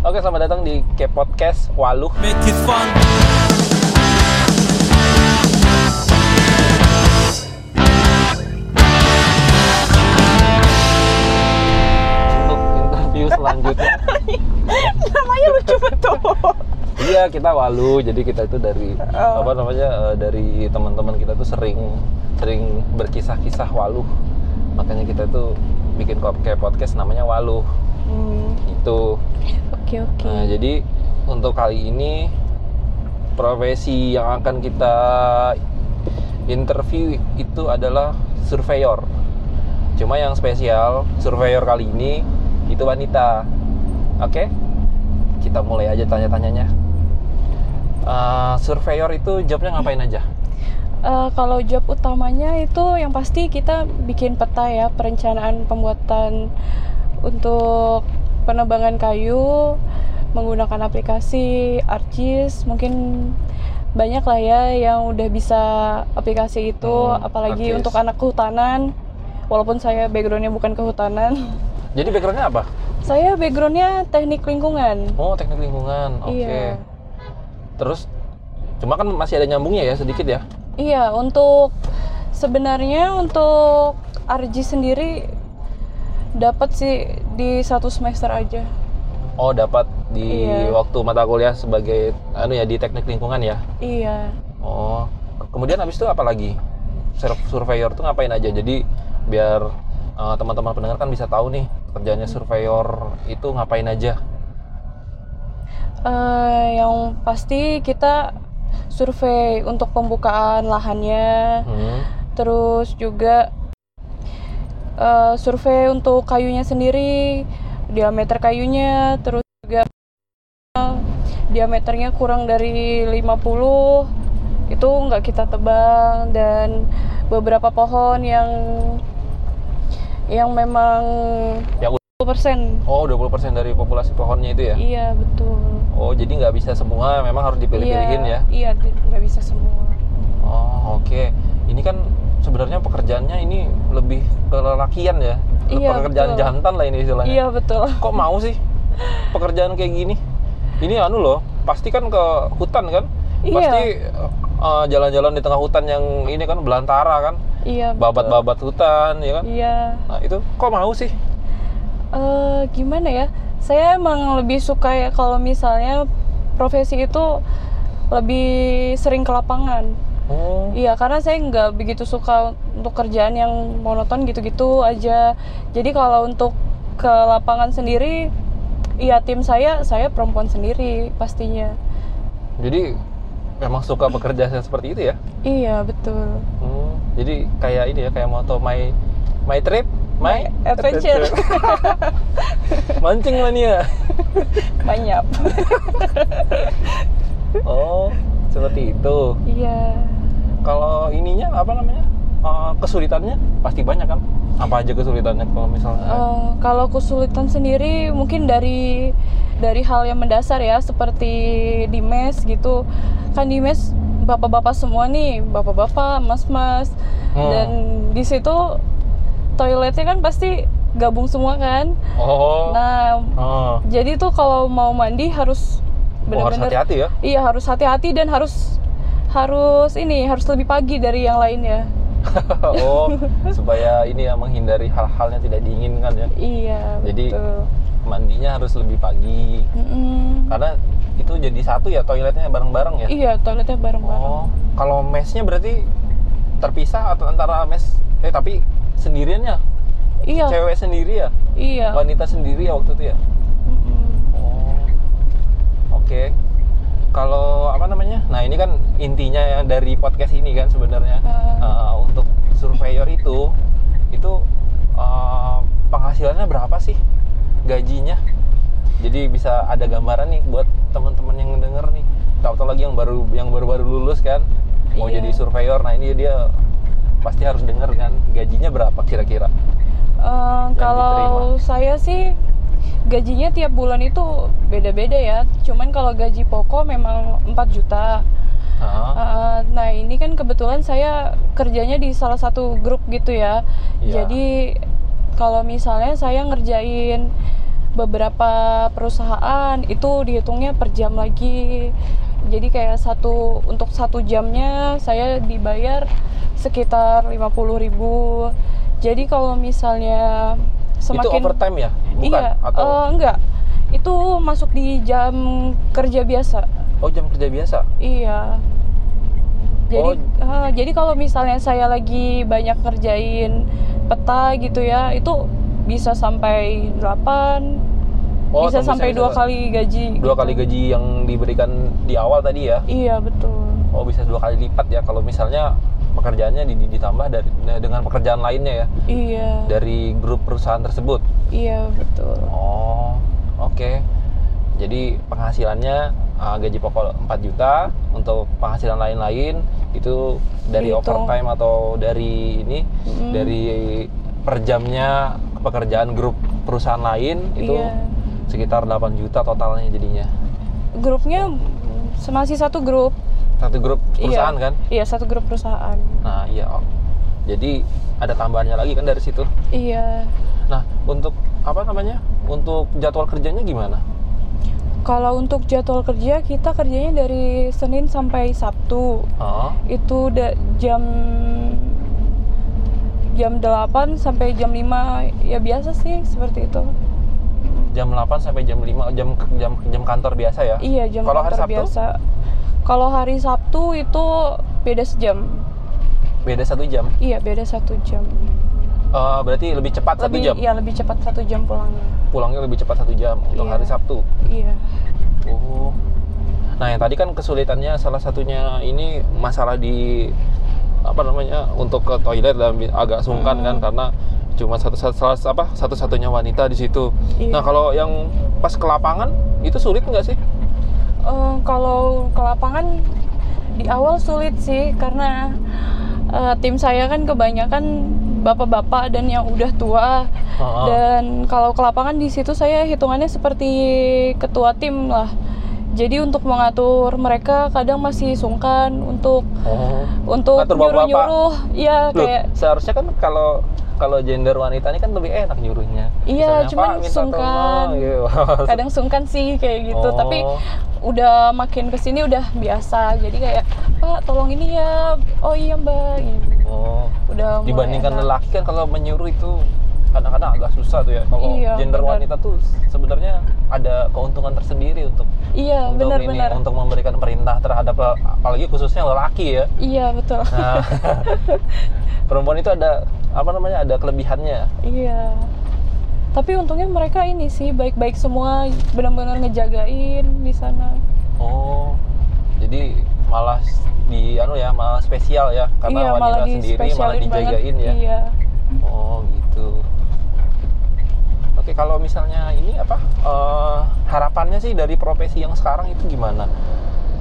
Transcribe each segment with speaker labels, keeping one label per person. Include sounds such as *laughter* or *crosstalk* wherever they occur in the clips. Speaker 1: Oke, selamat datang di K Podcast Waluh.
Speaker 2: Make it fun.
Speaker 1: Untuk interview selanjutnya.
Speaker 3: *laughs* namanya lucu betul
Speaker 1: iya, kita Waluh. Jadi kita itu dari
Speaker 3: Oh.
Speaker 1: apa namanya? eh, dari teman-teman kita tuh sering sering berkisah-kisah Waluh. Makanya kita tuh bikin kop- K Podcast namanya Waluh. Gitu.
Speaker 3: Hmm,
Speaker 1: Itu.
Speaker 3: oke oke
Speaker 1: Nah, jadi untuk kali ini profesi yang akan kita interview itu adalah surveyor. Cuma yang spesial, surveyor kali ini itu wanita. Oke? Kita mulai aja tanya-tanyanya. Eh, surveyor itu jobnya ngapain aja?
Speaker 3: Eh, kalau job utamanya itu yang pasti kita bikin peta ya perencanaan pembuatan untuk penebangan kayu menggunakan aplikasi ArcGIS mungkin banyak lah ya yang udah bisa aplikasi itu
Speaker 1: Hmm,
Speaker 3: apalagi
Speaker 1: ArcGIS.
Speaker 3: untuk anak kehutanan walaupun saya backgroundnya bukan kehutanan *laughs*
Speaker 1: Jadi backgroundnya apa?
Speaker 3: saya backgroundnya teknik lingkungan
Speaker 1: Oh, teknik lingkungan. Oke.
Speaker 3: Iya.
Speaker 1: Terus cuma kan masih ada nyambungnya ya sedikit ya.
Speaker 3: Iya, untuk sebenarnya untuk Arji sendiri dapat sih di satu semester aja.
Speaker 1: Oh dapat di
Speaker 3: Iya.
Speaker 1: waktu mata kuliah sebagai anu ya di teknik lingkungan ya.
Speaker 3: Iya.
Speaker 1: Oh kemudian habis itu apa lagi? Sur- Surveyor tuh ngapain aja? Jadi biar eh, teman-teman pendengar kan bisa tahu nih kerjanya surveyor itu ngapain aja.
Speaker 3: Eh, yang pasti kita survei untuk pembukaan lahannya,
Speaker 1: Hmm.
Speaker 3: terus juga eh, survei untuk kayunya sendiri, diameter kayunya, terus juga diameternya kurang dari 50 itu nggak kita tebang dan beberapa pohon yang yang memang
Speaker 1: Yang u-
Speaker 3: 10%
Speaker 1: Oh 20% dari populasi pohonnya itu ya.
Speaker 3: iya betul
Speaker 1: Oh jadi nggak bisa semua, memang harus dipilih-pilihin ya.
Speaker 3: iya, iya di- nggak bisa semua
Speaker 1: Oh oke. Ini kan sebenarnya pekerjaannya ini lebih kelelakian ya.
Speaker 3: Iya,
Speaker 1: Pekerjaan
Speaker 3: betul.
Speaker 1: jantan lah ini istilahnya.
Speaker 3: iya betul
Speaker 1: kok mau sih pekerjaan kayak gini ini anu loh pasti kan ke hutan kan
Speaker 3: Iya.
Speaker 1: pasti eh, jalan-jalan di tengah hutan yang ini kan belantara kan
Speaker 3: iya betul.
Speaker 1: babat-babat hutan ya kan
Speaker 3: iya
Speaker 1: nah itu kok mau sih
Speaker 3: eh gimana ya? Saya emang lebih suka ya kalau misalnya profesi itu lebih sering ke lapangan.
Speaker 1: oh
Speaker 3: Iya, karena saya nggak begitu suka untuk kerjaan yang monoton gitu-gitu aja. Jadi kalau untuk ke lapangan sendiri, iya tim saya, saya perempuan sendiri pastinya.
Speaker 1: jadi memang suka pekerjaan yang seperti itu ya
Speaker 3: Iya, betul.
Speaker 1: Hmm, jadi kayak ini ya kayak moto my my trip my,
Speaker 3: My adventure.
Speaker 1: *laughs*
Speaker 3: *laughs*
Speaker 1: mancing mania
Speaker 3: Banyak.
Speaker 1: oh seperti itu
Speaker 3: iya.
Speaker 1: kalau ininya apa namanya Eh, kesulitannya pasti banyak kan apa aja kesulitannya kalau misalnya
Speaker 3: Eh, kalau kesulitan sendiri mungkin dari dari hal yang mendasar ya seperti di mes gitu kan di mes bapak-bapak semua nih bapak-bapak mas-mas
Speaker 1: Hmm.
Speaker 3: dan di situ toiletnya kan pasti gabung semua kan
Speaker 1: oh
Speaker 3: nah
Speaker 1: oh.
Speaker 3: jadi tuh kalau mau mandi harus
Speaker 1: Oh, harus
Speaker 3: benar-benar
Speaker 1: hati-hati ya *laughs*
Speaker 3: iya harus hati-hati dan harus harus ini harus lebih pagi dari yang lainnya
Speaker 1: oh supaya ini ya menghindari hal-hal yang tidak diinginkan ya
Speaker 3: iya
Speaker 1: Jadi-
Speaker 3: betul.
Speaker 1: mandinya harus lebih pagi
Speaker 3: Mm-mm.
Speaker 1: karena itu jadi satu ya toiletnya bareng-bareng ya
Speaker 3: iya toiletnya bareng-bareng
Speaker 1: oh kalau mesnya berarti terpisah atau antara mes eh tapi sendiriannya
Speaker 3: iya
Speaker 1: cewek sendiri ya
Speaker 3: Iya.
Speaker 1: wanita sendiri ya waktu itu ya
Speaker 3: Mm-mm.
Speaker 1: Oh, oke. Kalau apa namanya? Nah ini kan intinya yang dari podcast ini kan sebenarnya
Speaker 3: Ah.
Speaker 1: Eh, untuk surveyor itu itu eh, penghasilannya berapa sih gajinya? Jadi bisa ada gambaran nih buat teman-teman yang denger nih. Tahu-tahu lagi yang baru yang baru-baru lulus kan mau
Speaker 3: Iya.
Speaker 1: jadi surveyor. Nah ini dia pasti harus denger kan gajinya berapa kira-kira?
Speaker 3: Eh, kalau saya sih gajinya tiap bulan itu beda-beda ya. Cuman kalau gaji pokok memang 4 juta.
Speaker 1: Ah,
Speaker 3: Eh, nah, ini kan kebetulan saya kerjanya di salah satu grup gitu ya.
Speaker 1: Iya.
Speaker 3: Jadi kalau misalnya saya ngerjain beberapa perusahaan itu dihitungnya per jam lagi jadi kayak satu untuk satu jamnya saya dibayar sekitar 50.000 jadi kalau misalnya
Speaker 1: itu
Speaker 3: semakin
Speaker 1: overtime ya bukan
Speaker 3: iya
Speaker 1: atau
Speaker 3: eh, enggak itu masuk di jam kerja biasa
Speaker 1: oh jam kerja biasa
Speaker 3: Iya.
Speaker 1: Oh.
Speaker 3: Jadi, eh, jadi kalau misalnya saya lagi banyak ngerjain peta gitu ya, itu bisa sampai 8,
Speaker 1: oh atau
Speaker 3: bisa sampai dua kali gaji.
Speaker 1: dua
Speaker 3: gitu.
Speaker 1: kali gaji yang diberikan di awal tadi ya
Speaker 3: Iya, betul.
Speaker 1: oh bisa dua kali lipat ya kalau misalnya pekerjaannya di- di- ditambah dari nah, dengan pekerjaan lainnya ya
Speaker 3: Iya.
Speaker 1: dari grup perusahaan tersebut
Speaker 3: Iya, betul.
Speaker 1: Oh, oke. Jadi penghasilannya uh, gaji pokok 4 juta untuk penghasilan lain-lain itu dari
Speaker 3: Dihitung.
Speaker 1: overtime atau dari ini
Speaker 3: Mm.
Speaker 1: dari per jamnya pekerjaan grup perusahaan lain itu
Speaker 3: Iya.
Speaker 1: sekitar 8 juta totalnya jadinya.
Speaker 3: Grupnya masih satu grup.
Speaker 1: Satu grup perusahaan
Speaker 3: iya.
Speaker 1: kan?
Speaker 3: Iya, satu grup perusahaan.
Speaker 1: Nah, iya. Om. Jadi ada tambahannya lagi kan dari situ.
Speaker 3: Iya.
Speaker 1: Nah, untuk apa namanya? Untuk jadwal kerjanya gimana?
Speaker 3: Kalau untuk jadwal kerja kita kerjanya dari Senin sampai Sabtu.
Speaker 1: Oh,
Speaker 3: itu udah jam jam 8 sampai jam 5 ya biasa sih seperti itu
Speaker 1: jam 8 sampai jam 5 jam jam jam kantor biasa ya?
Speaker 3: iya jam
Speaker 1: Kalau hari
Speaker 3: kantor
Speaker 1: Sabtu?
Speaker 3: biasa kalau hari Sabtu itu beda sejam
Speaker 1: Beda satu jam.
Speaker 3: iya beda satu jam
Speaker 1: Eh, berarti lebih cepat satu
Speaker 3: lebih
Speaker 1: jam.
Speaker 3: ya lebih cepat satu jam pulangnya
Speaker 1: Pulangnya lebih cepat satu jam untuk
Speaker 3: Iya.
Speaker 1: hari Sabtu.
Speaker 3: iya
Speaker 1: Oh. Nah yang tadi kan kesulitannya salah satunya ini masalah di apa namanya untuk ke toilet dan bi- agak sungkan
Speaker 3: Hmm.
Speaker 1: kan karena cuma satu satu- salah apa satu satunya wanita di situ.
Speaker 3: Iya.
Speaker 1: Nah kalau yang pas ke lapangan itu sulit nggak sih?
Speaker 3: Eh, kalau ke lapangan di awal sulit sih karena eh, tim saya kan kebanyakan bapak-bapak dan yang udah tua
Speaker 1: Heeh.
Speaker 3: Dan kalau ke lapangan di situ saya hitungannya seperti ketua tim lah. Jadi untuk mengatur mereka kadang masih sungkan untuk
Speaker 1: Oh.
Speaker 3: untuk
Speaker 1: Ngatur bapak-bapak.
Speaker 3: nyuruh-nyuruh,
Speaker 1: Loh,
Speaker 3: ya kayak
Speaker 1: seharusnya kan kalau kalau gender wanita ini kan lebih enak nyuruhnya. Misalnya,
Speaker 3: Iya, cuman
Speaker 1: "Pak, minta tolong,"
Speaker 3: sungkan.
Speaker 1: gitu.
Speaker 3: kadang sungkan sih kayak gitu.
Speaker 1: Oh.
Speaker 3: Tapi udah makin kesini udah biasa. Jadi kayak Pak tolong ini ya. Oh iya Mbak. Gitu.
Speaker 1: *laughs* Oh.
Speaker 3: Udah mulai
Speaker 1: Dibandingkan
Speaker 3: enak.
Speaker 1: lelaki kan kalau menyuruh itu kadang-kadang agak susah tuh ya. Kalau
Speaker 3: Iya,
Speaker 1: gender
Speaker 3: benar.
Speaker 1: wanita tuh sebenarnya ada keuntungan tersendiri untuk
Speaker 3: Iya
Speaker 1: untuk ini,
Speaker 3: benar-benar.
Speaker 1: untuk memberikan perintah terhadap le- apalagi khususnya lelaki ya.
Speaker 3: Iya betul. *laughs*
Speaker 1: Nah, perempuan itu ada apa namanya? ada kelebihannya.
Speaker 3: Iya. Tapi untungnya mereka ini sih baik-baik semua, benar-benar ngejagain di sana.
Speaker 1: Oh, jadi malah s- di anu ya, malah spesial ya karena
Speaker 3: iya, malah
Speaker 1: wanita sendiri malah
Speaker 3: dispesialin banget.
Speaker 1: dijagain ya.
Speaker 3: Iya.
Speaker 1: Oh, gitu. Oke, kalau misalnya ini apa eh, harapannya sih dari profesi yang sekarang itu gimana?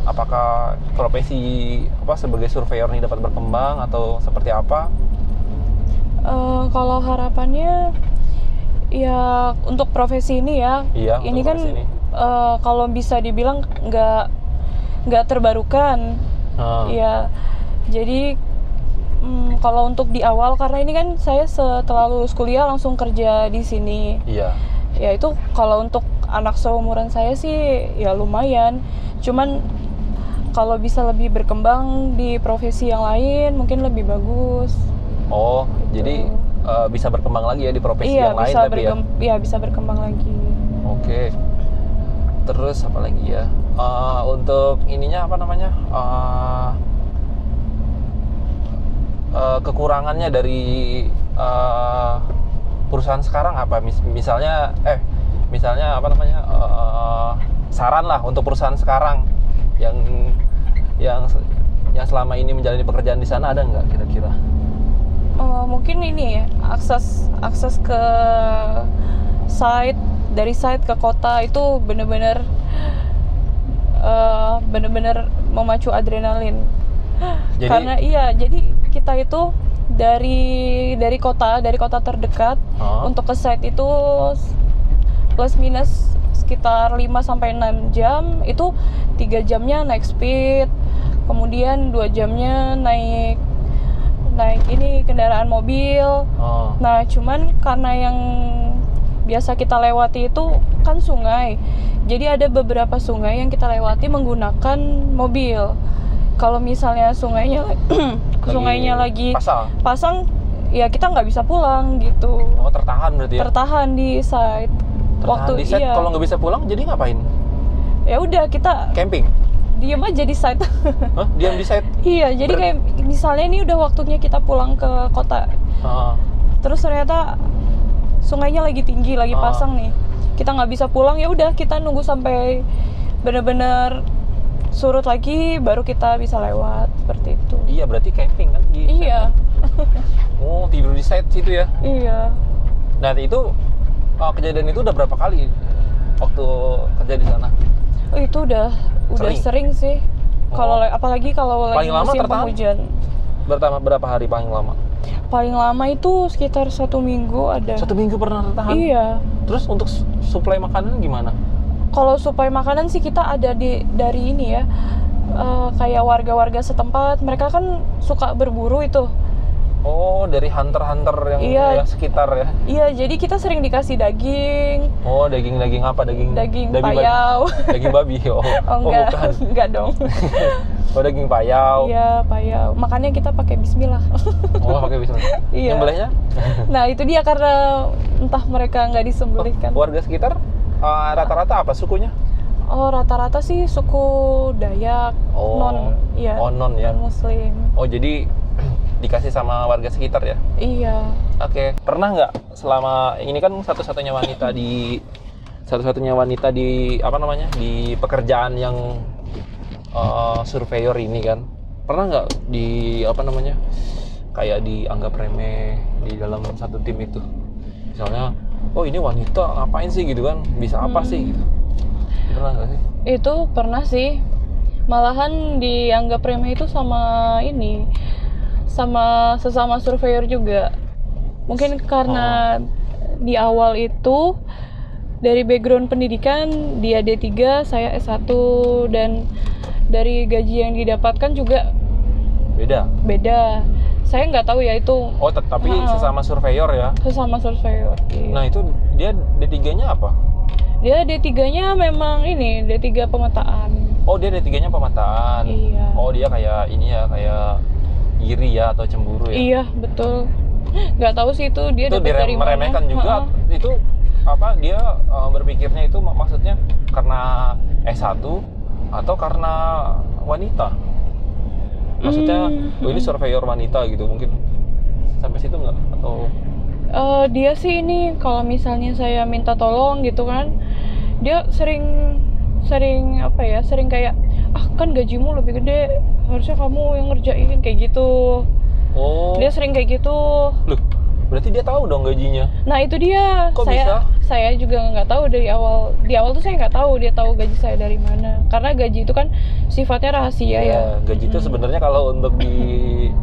Speaker 1: Apakah profesi apa sebagai surveyor ini dapat berkembang atau seperti apa?
Speaker 3: Eh, kalau harapannya ya untuk profesi ini ya.
Speaker 1: Iya,
Speaker 3: ini
Speaker 1: untuk
Speaker 3: kan
Speaker 1: profesi ini.
Speaker 3: eh, kalau bisa dibilang nggak nggak terbarukan.
Speaker 1: Nah,
Speaker 3: Iya. Jadi mm, kalau untuk di awal karena ini kan saya setelah lulus kuliah langsung kerja di sini.
Speaker 1: Iya.
Speaker 3: ya itu kalau untuk anak seumuran saya sih ya lumayan cuman kalau bisa lebih berkembang di profesi yang lain mungkin lebih bagus
Speaker 1: Oh, jadi eh, bisa berkembang lagi ya di profesi
Speaker 3: Gitu. iya
Speaker 1: yang lain
Speaker 3: bisa
Speaker 1: tapi ya.
Speaker 3: berkembang ya. bisa berkembang lagi
Speaker 1: Oke. Terus apa lagi ya? Eh, untuk ininya apa namanya? Eh, eh, kekurangannya dari eh, perusahaan sekarang apa? Mis- misalnya, eh, misalnya apa namanya? Eh, saran lah untuk perusahaan sekarang yang yang yang selama ini menjalani pekerjaan di sana ada nggak kira-kira?
Speaker 3: Eh, mungkin ini ya, akses akses ke site dari site ke kota itu bener-bener eh, bener-bener memacu adrenalin
Speaker 1: Jadi,
Speaker 3: karena iya jadi kita itu dari dari kota dari kota terdekat
Speaker 1: Oh.
Speaker 3: untuk ke site itu s- plus minus sekitar 5 sampai 6 jam itu tiga jamnya naik speed kemudian dua jamnya naik naik ini kendaraan mobil
Speaker 1: oh,
Speaker 3: nah cuman karena yang biasa kita lewati itu kan sungai. Jadi ada beberapa sungai yang kita lewati menggunakan mobil. Kalau misalnya sungainya *clears throat* sungainya lagi
Speaker 1: pasal
Speaker 3: pasang, ya kita nggak bisa pulang gitu.
Speaker 1: oh tertahan berarti ya
Speaker 3: Tertahan di site.
Speaker 1: Tertahan
Speaker 3: waktu
Speaker 1: di set
Speaker 3: iya.
Speaker 1: kalau nggak bisa pulang jadi ngapain
Speaker 3: Ya udah kita *laughs*
Speaker 1: camping
Speaker 3: diem aja di site. *laughs*
Speaker 1: Hah? diam di set
Speaker 3: iya, jadi
Speaker 1: Ber-
Speaker 3: kayak misalnya ini udah waktunya kita pulang ke kota.
Speaker 1: Ah,
Speaker 3: terus ternyata sungainya lagi tinggi lagi
Speaker 1: Ah.
Speaker 3: pasang nih kita nggak bisa pulang ya udah kita nunggu sampai bener-bener surut lagi baru kita bisa lewat seperti itu
Speaker 1: iya berarti camping kan di set.
Speaker 3: iya
Speaker 1: oh tidur di set situ ya
Speaker 3: iya
Speaker 1: nah itu uh, kejadian itu udah berapa kali waktu kerja di sana
Speaker 3: Oh, itu udah udah sering, sih
Speaker 1: Oh.
Speaker 3: kalau le- apalagi kalau lagi
Speaker 1: Paling lama
Speaker 3: musim
Speaker 1: tertahan?
Speaker 3: penghujan
Speaker 1: bertama berapa hari paling lama
Speaker 3: paling lama itu sekitar satu minggu ada
Speaker 1: satu minggu pernah tertahan
Speaker 3: iya
Speaker 1: terus untuk su- suplai makanan gimana
Speaker 3: kalau supply makanan sih kita ada di dari ini ya eh, kayak warga-warga setempat mereka kan suka berburu itu
Speaker 1: oh dari hunter hunter yang,
Speaker 3: Iya.
Speaker 1: yang sekitar ya
Speaker 3: Iya, jadi kita sering dikasih daging,
Speaker 1: oh daging daging apa daging
Speaker 3: daging
Speaker 1: babi- *laughs*
Speaker 3: payau.
Speaker 1: daging babi oh,
Speaker 3: *laughs* Oh enggak,
Speaker 1: bukan
Speaker 3: enggak dong.
Speaker 1: oh daging payau
Speaker 3: Iya, payau. Makanya kita pakai
Speaker 1: *laughs*
Speaker 3: bismillah.
Speaker 1: oh pakai bisnis
Speaker 3: Iya.
Speaker 1: Nyembelihnya?
Speaker 3: nah, itu dia karena entah mereka kan. nggak disembelihkan.
Speaker 1: warga sekitar uh, rata-rata apa sukunya
Speaker 3: Oh, rata-rata sih suku Dayak,
Speaker 1: Oh.
Speaker 3: non, iya.
Speaker 1: oh non ya
Speaker 3: muslim.
Speaker 1: oh jadi *clears throat* dikasih sama warga sekitar ya
Speaker 3: Iya.
Speaker 1: Oke, pernah nggak selama ini kan satu-satunya wanita di satu-satunya wanita di apa namanya di pekerjaan yang eh, surveyor ini kan pernah nggak di apa namanya kayak dianggap remeh di dalam satu tim itu misalnya oh ini wanita ngapain sih gitu kan bisa apa
Speaker 3: Hmm.
Speaker 1: sih gitu pernah nggak sih
Speaker 3: Itu pernah sih. Malahan dianggap remeh itu sama ini. Sama sesama surveyor juga. Mungkin karena di awal itu dari background pendidikan dia D3, saya S1 dan dari gaji yang didapatkan juga
Speaker 1: beda
Speaker 3: beda. Saya nggak tahu ya itu
Speaker 1: oh tet- tapi
Speaker 3: Oh.
Speaker 1: sesama surveyor ya
Speaker 3: sesama surveyor.
Speaker 1: nah itu dia D3 nya apa
Speaker 3: Dia D3-nya memang ini, D3 pemetaan.
Speaker 1: oh dia D3 nya pemataan
Speaker 3: Iya.
Speaker 1: Oh dia kayak ini ya kayak iri ya atau cemburu ya?
Speaker 3: Iya betul. Nggak tahu sih itu dia
Speaker 1: itu
Speaker 3: dapat
Speaker 1: dire-
Speaker 3: dari mana.
Speaker 1: meremehkan juga
Speaker 3: Ha-ha.
Speaker 1: itu apa dia uh, berpikirnya itu mak- maksudnya karena S1 atau karena wanita? Maksudnya
Speaker 3: Hmm,
Speaker 1: oh, ini
Speaker 3: hmm.
Speaker 1: surveyor wanita gitu mungkin sampai situ nggak atau
Speaker 3: Eh, dia sih ini kalau misalnya saya minta tolong gitu kan, dia sering sering apa ya sering kayak ah kan gajimu lebih gede harusnya kamu yang ngerjain kayak gitu
Speaker 1: oh
Speaker 3: dia sering kayak gitu
Speaker 1: loh berarti dia tahu dong gajinya
Speaker 3: nah itu dia
Speaker 1: Kok
Speaker 3: saya
Speaker 1: bisa?
Speaker 3: saya juga nggak tahu dari awal di awal tuh saya nggak tahu dia tahu gaji saya dari mana karena gaji itu kan sifatnya rahasia ya
Speaker 1: Ya, gaji itu sebenarnya kalau untuk
Speaker 3: *laughs*
Speaker 1: di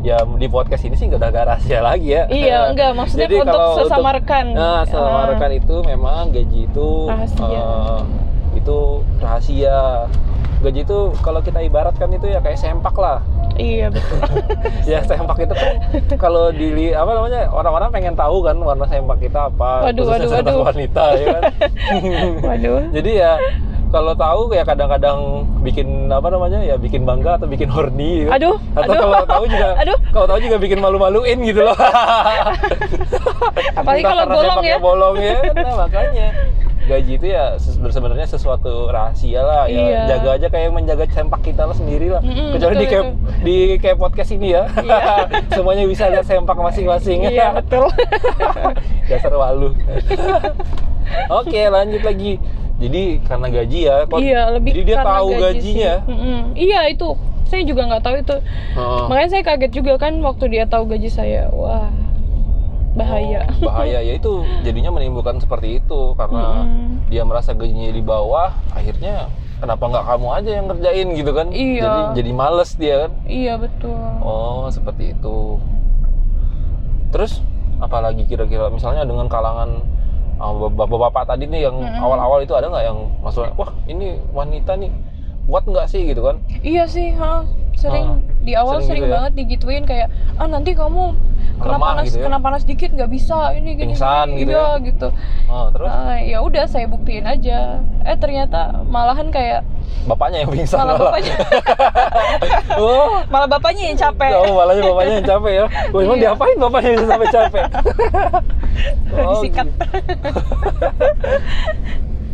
Speaker 1: ya di podcast ini sih nggak ada nggak rahasia lagi ya *laughs*
Speaker 3: Iya, enggak maksudnya
Speaker 1: Jadi
Speaker 3: untuk
Speaker 1: kalau untuk-
Speaker 3: sesama rekan.
Speaker 1: Nah, sama
Speaker 3: Ah,
Speaker 1: rekan itu memang gaji itu
Speaker 3: Rahasia.
Speaker 1: eh, itu rahasia. Gaji itu kalau kita ibaratkan itu ya kayak sempak lah.
Speaker 3: *laughs* Iya
Speaker 1: *laughs*
Speaker 3: betul.
Speaker 1: ya sempak itu kan kalau di apa namanya orang-orang pengen tahu kan warna sempak kita apa.
Speaker 3: Waduh,
Speaker 1: khususnya *laughs*
Speaker 3: waduh,
Speaker 1: sempak
Speaker 3: waduh.
Speaker 1: wanita ya
Speaker 3: *laughs*
Speaker 1: kan.
Speaker 3: Waduh.
Speaker 1: Jadi ya kalau tahu ya kadang-kadang bikin apa namanya ya bikin bangga atau bikin horny gitu.
Speaker 3: Aduh,
Speaker 1: atau
Speaker 3: aduh.
Speaker 1: kalau tahu juga
Speaker 3: Aduh.
Speaker 1: kalau tahu juga bikin malu-maluin gitu loh
Speaker 3: *laughs* Apalagi
Speaker 1: Entah
Speaker 3: kalau
Speaker 1: karena
Speaker 3: bolong
Speaker 1: sempaknya
Speaker 3: ya.
Speaker 1: bolong ya nah, makanya gaji itu ya se- sebenarnya sesuatu rahasia lah ya
Speaker 3: Iya.
Speaker 1: jaga aja kayak menjaga sempak kita lah sendiri lah
Speaker 3: Mm-mm,
Speaker 1: kecuali di
Speaker 3: betul,
Speaker 1: kayak di kayak podcast ini ya
Speaker 3: Iya.
Speaker 1: *laughs* semuanya bisa lihat sempak masing-masing
Speaker 3: Iya betul.
Speaker 1: dasar
Speaker 3: *laughs*
Speaker 1: walu oke lanjut lagi jadi karena gaji ya kok-
Speaker 3: iya lebih
Speaker 1: jadi dia
Speaker 3: karena
Speaker 1: tahu
Speaker 3: gaji
Speaker 1: gajinya ya?
Speaker 3: sih. Mm-mm. Iya itu. Saya juga nggak tahu itu.
Speaker 1: Heeh.
Speaker 3: Makanya saya kaget juga kan waktu dia tahu gaji saya. Wah bahaya.
Speaker 1: Oh, bahaya ya itu jadinya menimbulkan seperti itu karena
Speaker 3: Mm-mm.
Speaker 1: dia merasa gajinya di bawah, akhirnya kenapa nggak kamu aja yang ngerjain gitu kan?
Speaker 3: Iya.
Speaker 1: Jadi jadi males dia kan.
Speaker 3: Iya betul.
Speaker 1: Oh, seperti itu. Terus apalagi kira-kira misalnya dengan kalangan uh, bapak-bapak tadi nih yang
Speaker 3: Mm-mm.
Speaker 1: awal-awal itu ada nggak yang maksudnya wah ini wanita nih kuat nggak sih gitu kan?
Speaker 3: Iya sih, ha. Sering
Speaker 1: Ah,
Speaker 3: di
Speaker 1: sering
Speaker 3: awal sering,
Speaker 1: gitu ya.
Speaker 3: banget digituin kayak ah nanti kamu kena
Speaker 1: lemah
Speaker 3: panas
Speaker 1: gitu ya
Speaker 3: kena panas dikit nggak bisa ini gini
Speaker 1: Pingsan
Speaker 3: gini.
Speaker 1: gitu
Speaker 3: Iya,
Speaker 1: ya?
Speaker 3: gitu
Speaker 1: oh, terus
Speaker 3: Ah, ya udah saya buktiin aja eh ternyata malahan kayak
Speaker 1: bapaknya yang pingsan
Speaker 3: malah
Speaker 1: malah
Speaker 3: bapaknya
Speaker 1: *laughs* oh
Speaker 3: malah bapaknya yang capek
Speaker 1: Oh, malahnya bapaknya yang capek
Speaker 3: *laughs*
Speaker 1: ya. Wah, emang
Speaker 3: Iya.
Speaker 1: diapain bapaknya bisa sampai capek?
Speaker 3: *laughs* Disikat.
Speaker 1: gitu.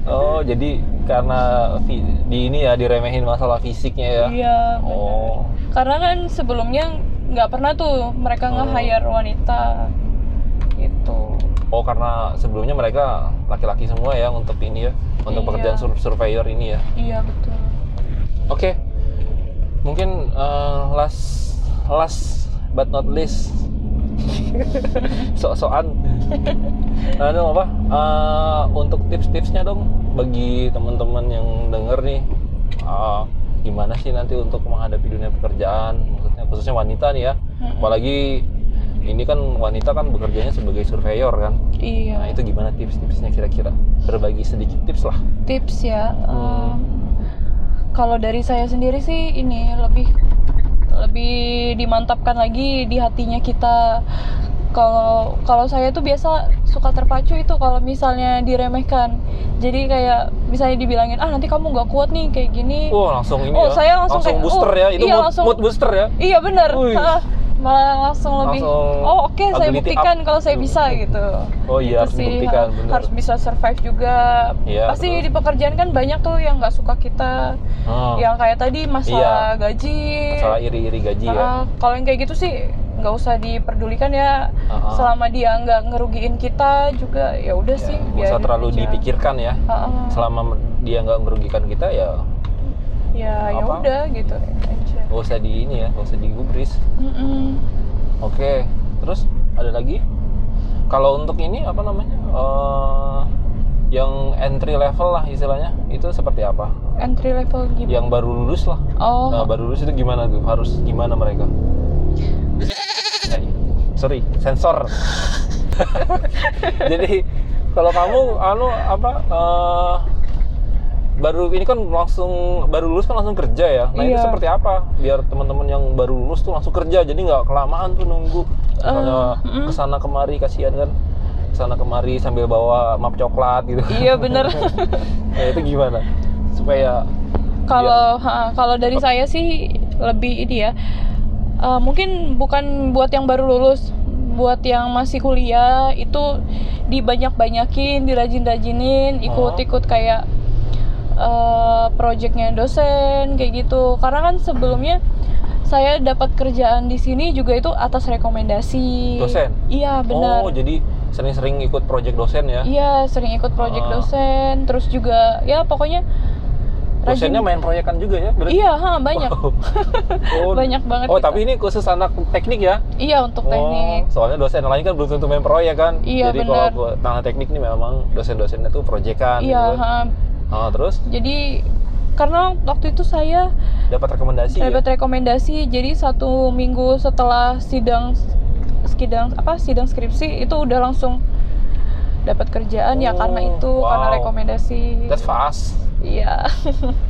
Speaker 1: oh, jadi karena fi- di ini ya diremehin masalah fisiknya ya.
Speaker 3: iya benar.
Speaker 1: Oh.
Speaker 3: karena kan sebelumnya nggak pernah tuh mereka
Speaker 1: Oh.
Speaker 3: nge-hire wanita gitu
Speaker 1: Oh, karena sebelumnya mereka laki-laki semua ya untuk ini ya, untuk
Speaker 3: Iya.
Speaker 1: pekerjaan sur- surveyor ini ya.
Speaker 3: iya betul
Speaker 1: Oke. Mungkin eh, last last but not least *laughs*
Speaker 3: *laughs*
Speaker 1: sok-sokan. Nah, dong apa? Eh, untuk tips-tipsnya dong bagi teman-teman yang denger nih eh, gimana sih nanti untuk menghadapi dunia pekerjaan maksudnya khususnya wanita nih ya. Apalagi ini kan wanita kan bekerjanya sebagai surveyor kan.
Speaker 3: iya
Speaker 1: Nah, itu gimana tips-tipsnya kira-kira? Berbagi sedikit tips lah.
Speaker 3: tips ya
Speaker 1: Hmm.
Speaker 3: em, kalau dari saya sendiri sih ini lebih lebih dimantapkan lagi di hatinya kita kalau kalau saya tuh biasa suka terpacu itu kalau misalnya diremehkan jadi kayak misalnya dibilangin ah nanti kamu nggak kuat nih kayak gini
Speaker 1: Wah, langsung ini
Speaker 3: Oh,
Speaker 1: ya.
Speaker 3: saya langsung kayak,
Speaker 1: booster
Speaker 3: oh,
Speaker 1: ya. Itu
Speaker 3: iya,
Speaker 1: mood-
Speaker 3: langsung-
Speaker 1: mood booster ya.
Speaker 3: iya bener
Speaker 1: Wih.
Speaker 3: Ah, malah langsung lebih
Speaker 1: Langsung
Speaker 3: oh oke saya
Speaker 1: ability
Speaker 3: buktikan
Speaker 1: up."
Speaker 3: kalau saya bisa gitu
Speaker 1: Oh
Speaker 3: Gitu
Speaker 1: iya harus
Speaker 3: sih,
Speaker 1: dibuktikan
Speaker 3: ha-
Speaker 1: bener.
Speaker 3: harus bisa survive juga
Speaker 1: Iya,
Speaker 3: pasti
Speaker 1: betul.
Speaker 3: di pekerjaan kan banyak tuh yang nggak suka kita
Speaker 1: Oh, Iya.
Speaker 3: yang kayak tadi masalah gaji
Speaker 1: masalah iri-iri gaji ya.
Speaker 3: Ah, kalau yang kayak gitu sih nggak usah diperdulikan ya
Speaker 1: Ah, ah.
Speaker 3: selama dia nggak ngerugiin kita juga ya udah
Speaker 1: Ya,
Speaker 3: sih gitu.
Speaker 1: nggak usah
Speaker 3: biarin
Speaker 1: terlalu
Speaker 3: aja.
Speaker 1: dipikirkan ya.
Speaker 3: Ah, ah.
Speaker 1: Selama dia nggak merugikan kita ya
Speaker 3: ya ya
Speaker 1: apa?
Speaker 3: udah gitu aja
Speaker 1: nggak usah di ini ya, nggak usah digubris.
Speaker 3: Mm-mm.
Speaker 1: Oke, terus ada lagi? Kalau untuk ini apa namanya? Eh, yang entry level lah istilahnya itu seperti apa?
Speaker 3: entry level gitu
Speaker 1: Yang baru lulus lah.
Speaker 3: oh
Speaker 1: Nah, baru lulus itu gimana tuh? Harus gimana
Speaker 3: *laughs*
Speaker 1: mereka? Eh, Sorry,
Speaker 3: *laughs*
Speaker 1: sensor. Jadi kalau kamu anu apa eh, baru ini kan langsung baru lulus kan langsung kerja ya. Nah, itu
Speaker 3: Iya.
Speaker 1: seperti apa? Biar teman-teman yang baru lulus tuh langsung kerja jadi nggak kelamaan tuh nunggu misalnya
Speaker 3: Eh, mm.
Speaker 1: kesana kemari kasihan kan kesana kemari sambil bawa map coklat gitu. *laughs*
Speaker 3: iya bener
Speaker 1: Nah, itu gimana? Supaya
Speaker 3: kalau
Speaker 1: Iya.
Speaker 3: ha, kalau dari saya sih lebih ini ya eh, mungkin bukan buat yang baru lulus buat yang masih kuliah itu dibanyak-banyakin dirajin-rajinin
Speaker 1: Oh.
Speaker 3: ikut-ikut kayak eh, proyeknya dosen kayak gitu karena kan sebelumnya saya dapat kerjaan di sini juga itu atas rekomendasi
Speaker 1: Dosen?
Speaker 3: iya benar
Speaker 1: Oh, jadi sering-sering ikut project dosen ya.
Speaker 3: iya sering ikut proyek
Speaker 1: Ah.
Speaker 3: dosen terus juga ya pokoknya
Speaker 1: Dosennya main proyekan juga ya? berarti?
Speaker 3: iya ha, banyak
Speaker 1: Oh. *laughs* Oh.
Speaker 3: *laughs* banyak banget
Speaker 1: Oh,
Speaker 3: kita.
Speaker 1: tapi ini khusus anak teknik ya?
Speaker 3: Iya untuk teknik.
Speaker 1: Oh, soalnya dosen lain kan belum tentu main proyek kan.
Speaker 3: Iya,
Speaker 1: jadi
Speaker 3: benar.
Speaker 1: kalau gua- anak teknik nih memang dosen-dosennya tuh proyekan
Speaker 3: Iya.
Speaker 1: gitu. kan.
Speaker 3: ha.
Speaker 1: Oh, terus
Speaker 3: Jadi karena waktu itu saya
Speaker 1: dapat rekomendasi
Speaker 3: dapat
Speaker 1: ya?
Speaker 3: rekomendasi, jadi satu minggu setelah sidang sidang apa sidang skripsi itu udah langsung dapat kerjaan ya
Speaker 1: Oh,
Speaker 3: karena itu karena
Speaker 1: wow.
Speaker 3: rekomendasi.
Speaker 1: That's fast.
Speaker 3: Iya.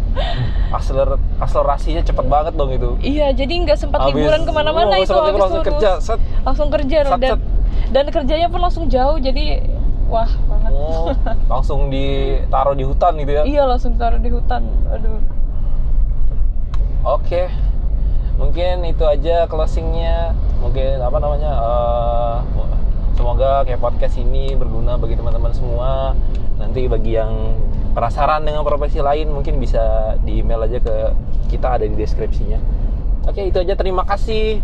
Speaker 3: *laughs*
Speaker 1: Akseler akselerasinya cepet banget dong itu.
Speaker 3: iya, jadi nggak sempat
Speaker 1: Abis-
Speaker 3: liburan
Speaker 1: oh,
Speaker 3: kemana-mana itu
Speaker 1: sempat
Speaker 3: habis
Speaker 1: libur langsung
Speaker 3: lulus.
Speaker 1: kerja. Set.
Speaker 3: Langsung kerja
Speaker 1: Set,
Speaker 3: dan
Speaker 1: set.
Speaker 3: dan kerjanya pun langsung jauh jadi wah banget.
Speaker 1: Oh, langsung ditaruh di hutan gitu ya.
Speaker 3: Iya langsung taruh di hutan. Aduh.
Speaker 1: Oke, mungkin itu aja closingnya. Mungkin apa namanya? eh, semoga kayak podcast ini berguna bagi teman-teman semua. Nanti bagi yang penasaran dengan profesi lain, mungkin bisa di email aja ke kita ada di deskripsinya. Oke, itu aja. Terima kasih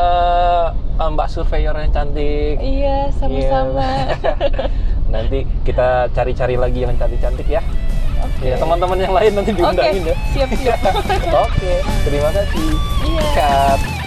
Speaker 1: eh, Mbak Surveyor yang cantik.
Speaker 3: Iya, sama-sama.
Speaker 1: *laughs*
Speaker 3: *laughs*
Speaker 1: nanti kita cari-cari lagi yang cantik-cantik ya. Ya, teman-teman yang lain nanti ya.
Speaker 3: Oke,
Speaker 1: diundahin ya.
Speaker 3: siap-siap.
Speaker 1: Oke, terima kasih.
Speaker 3: Iya.
Speaker 1: Cut.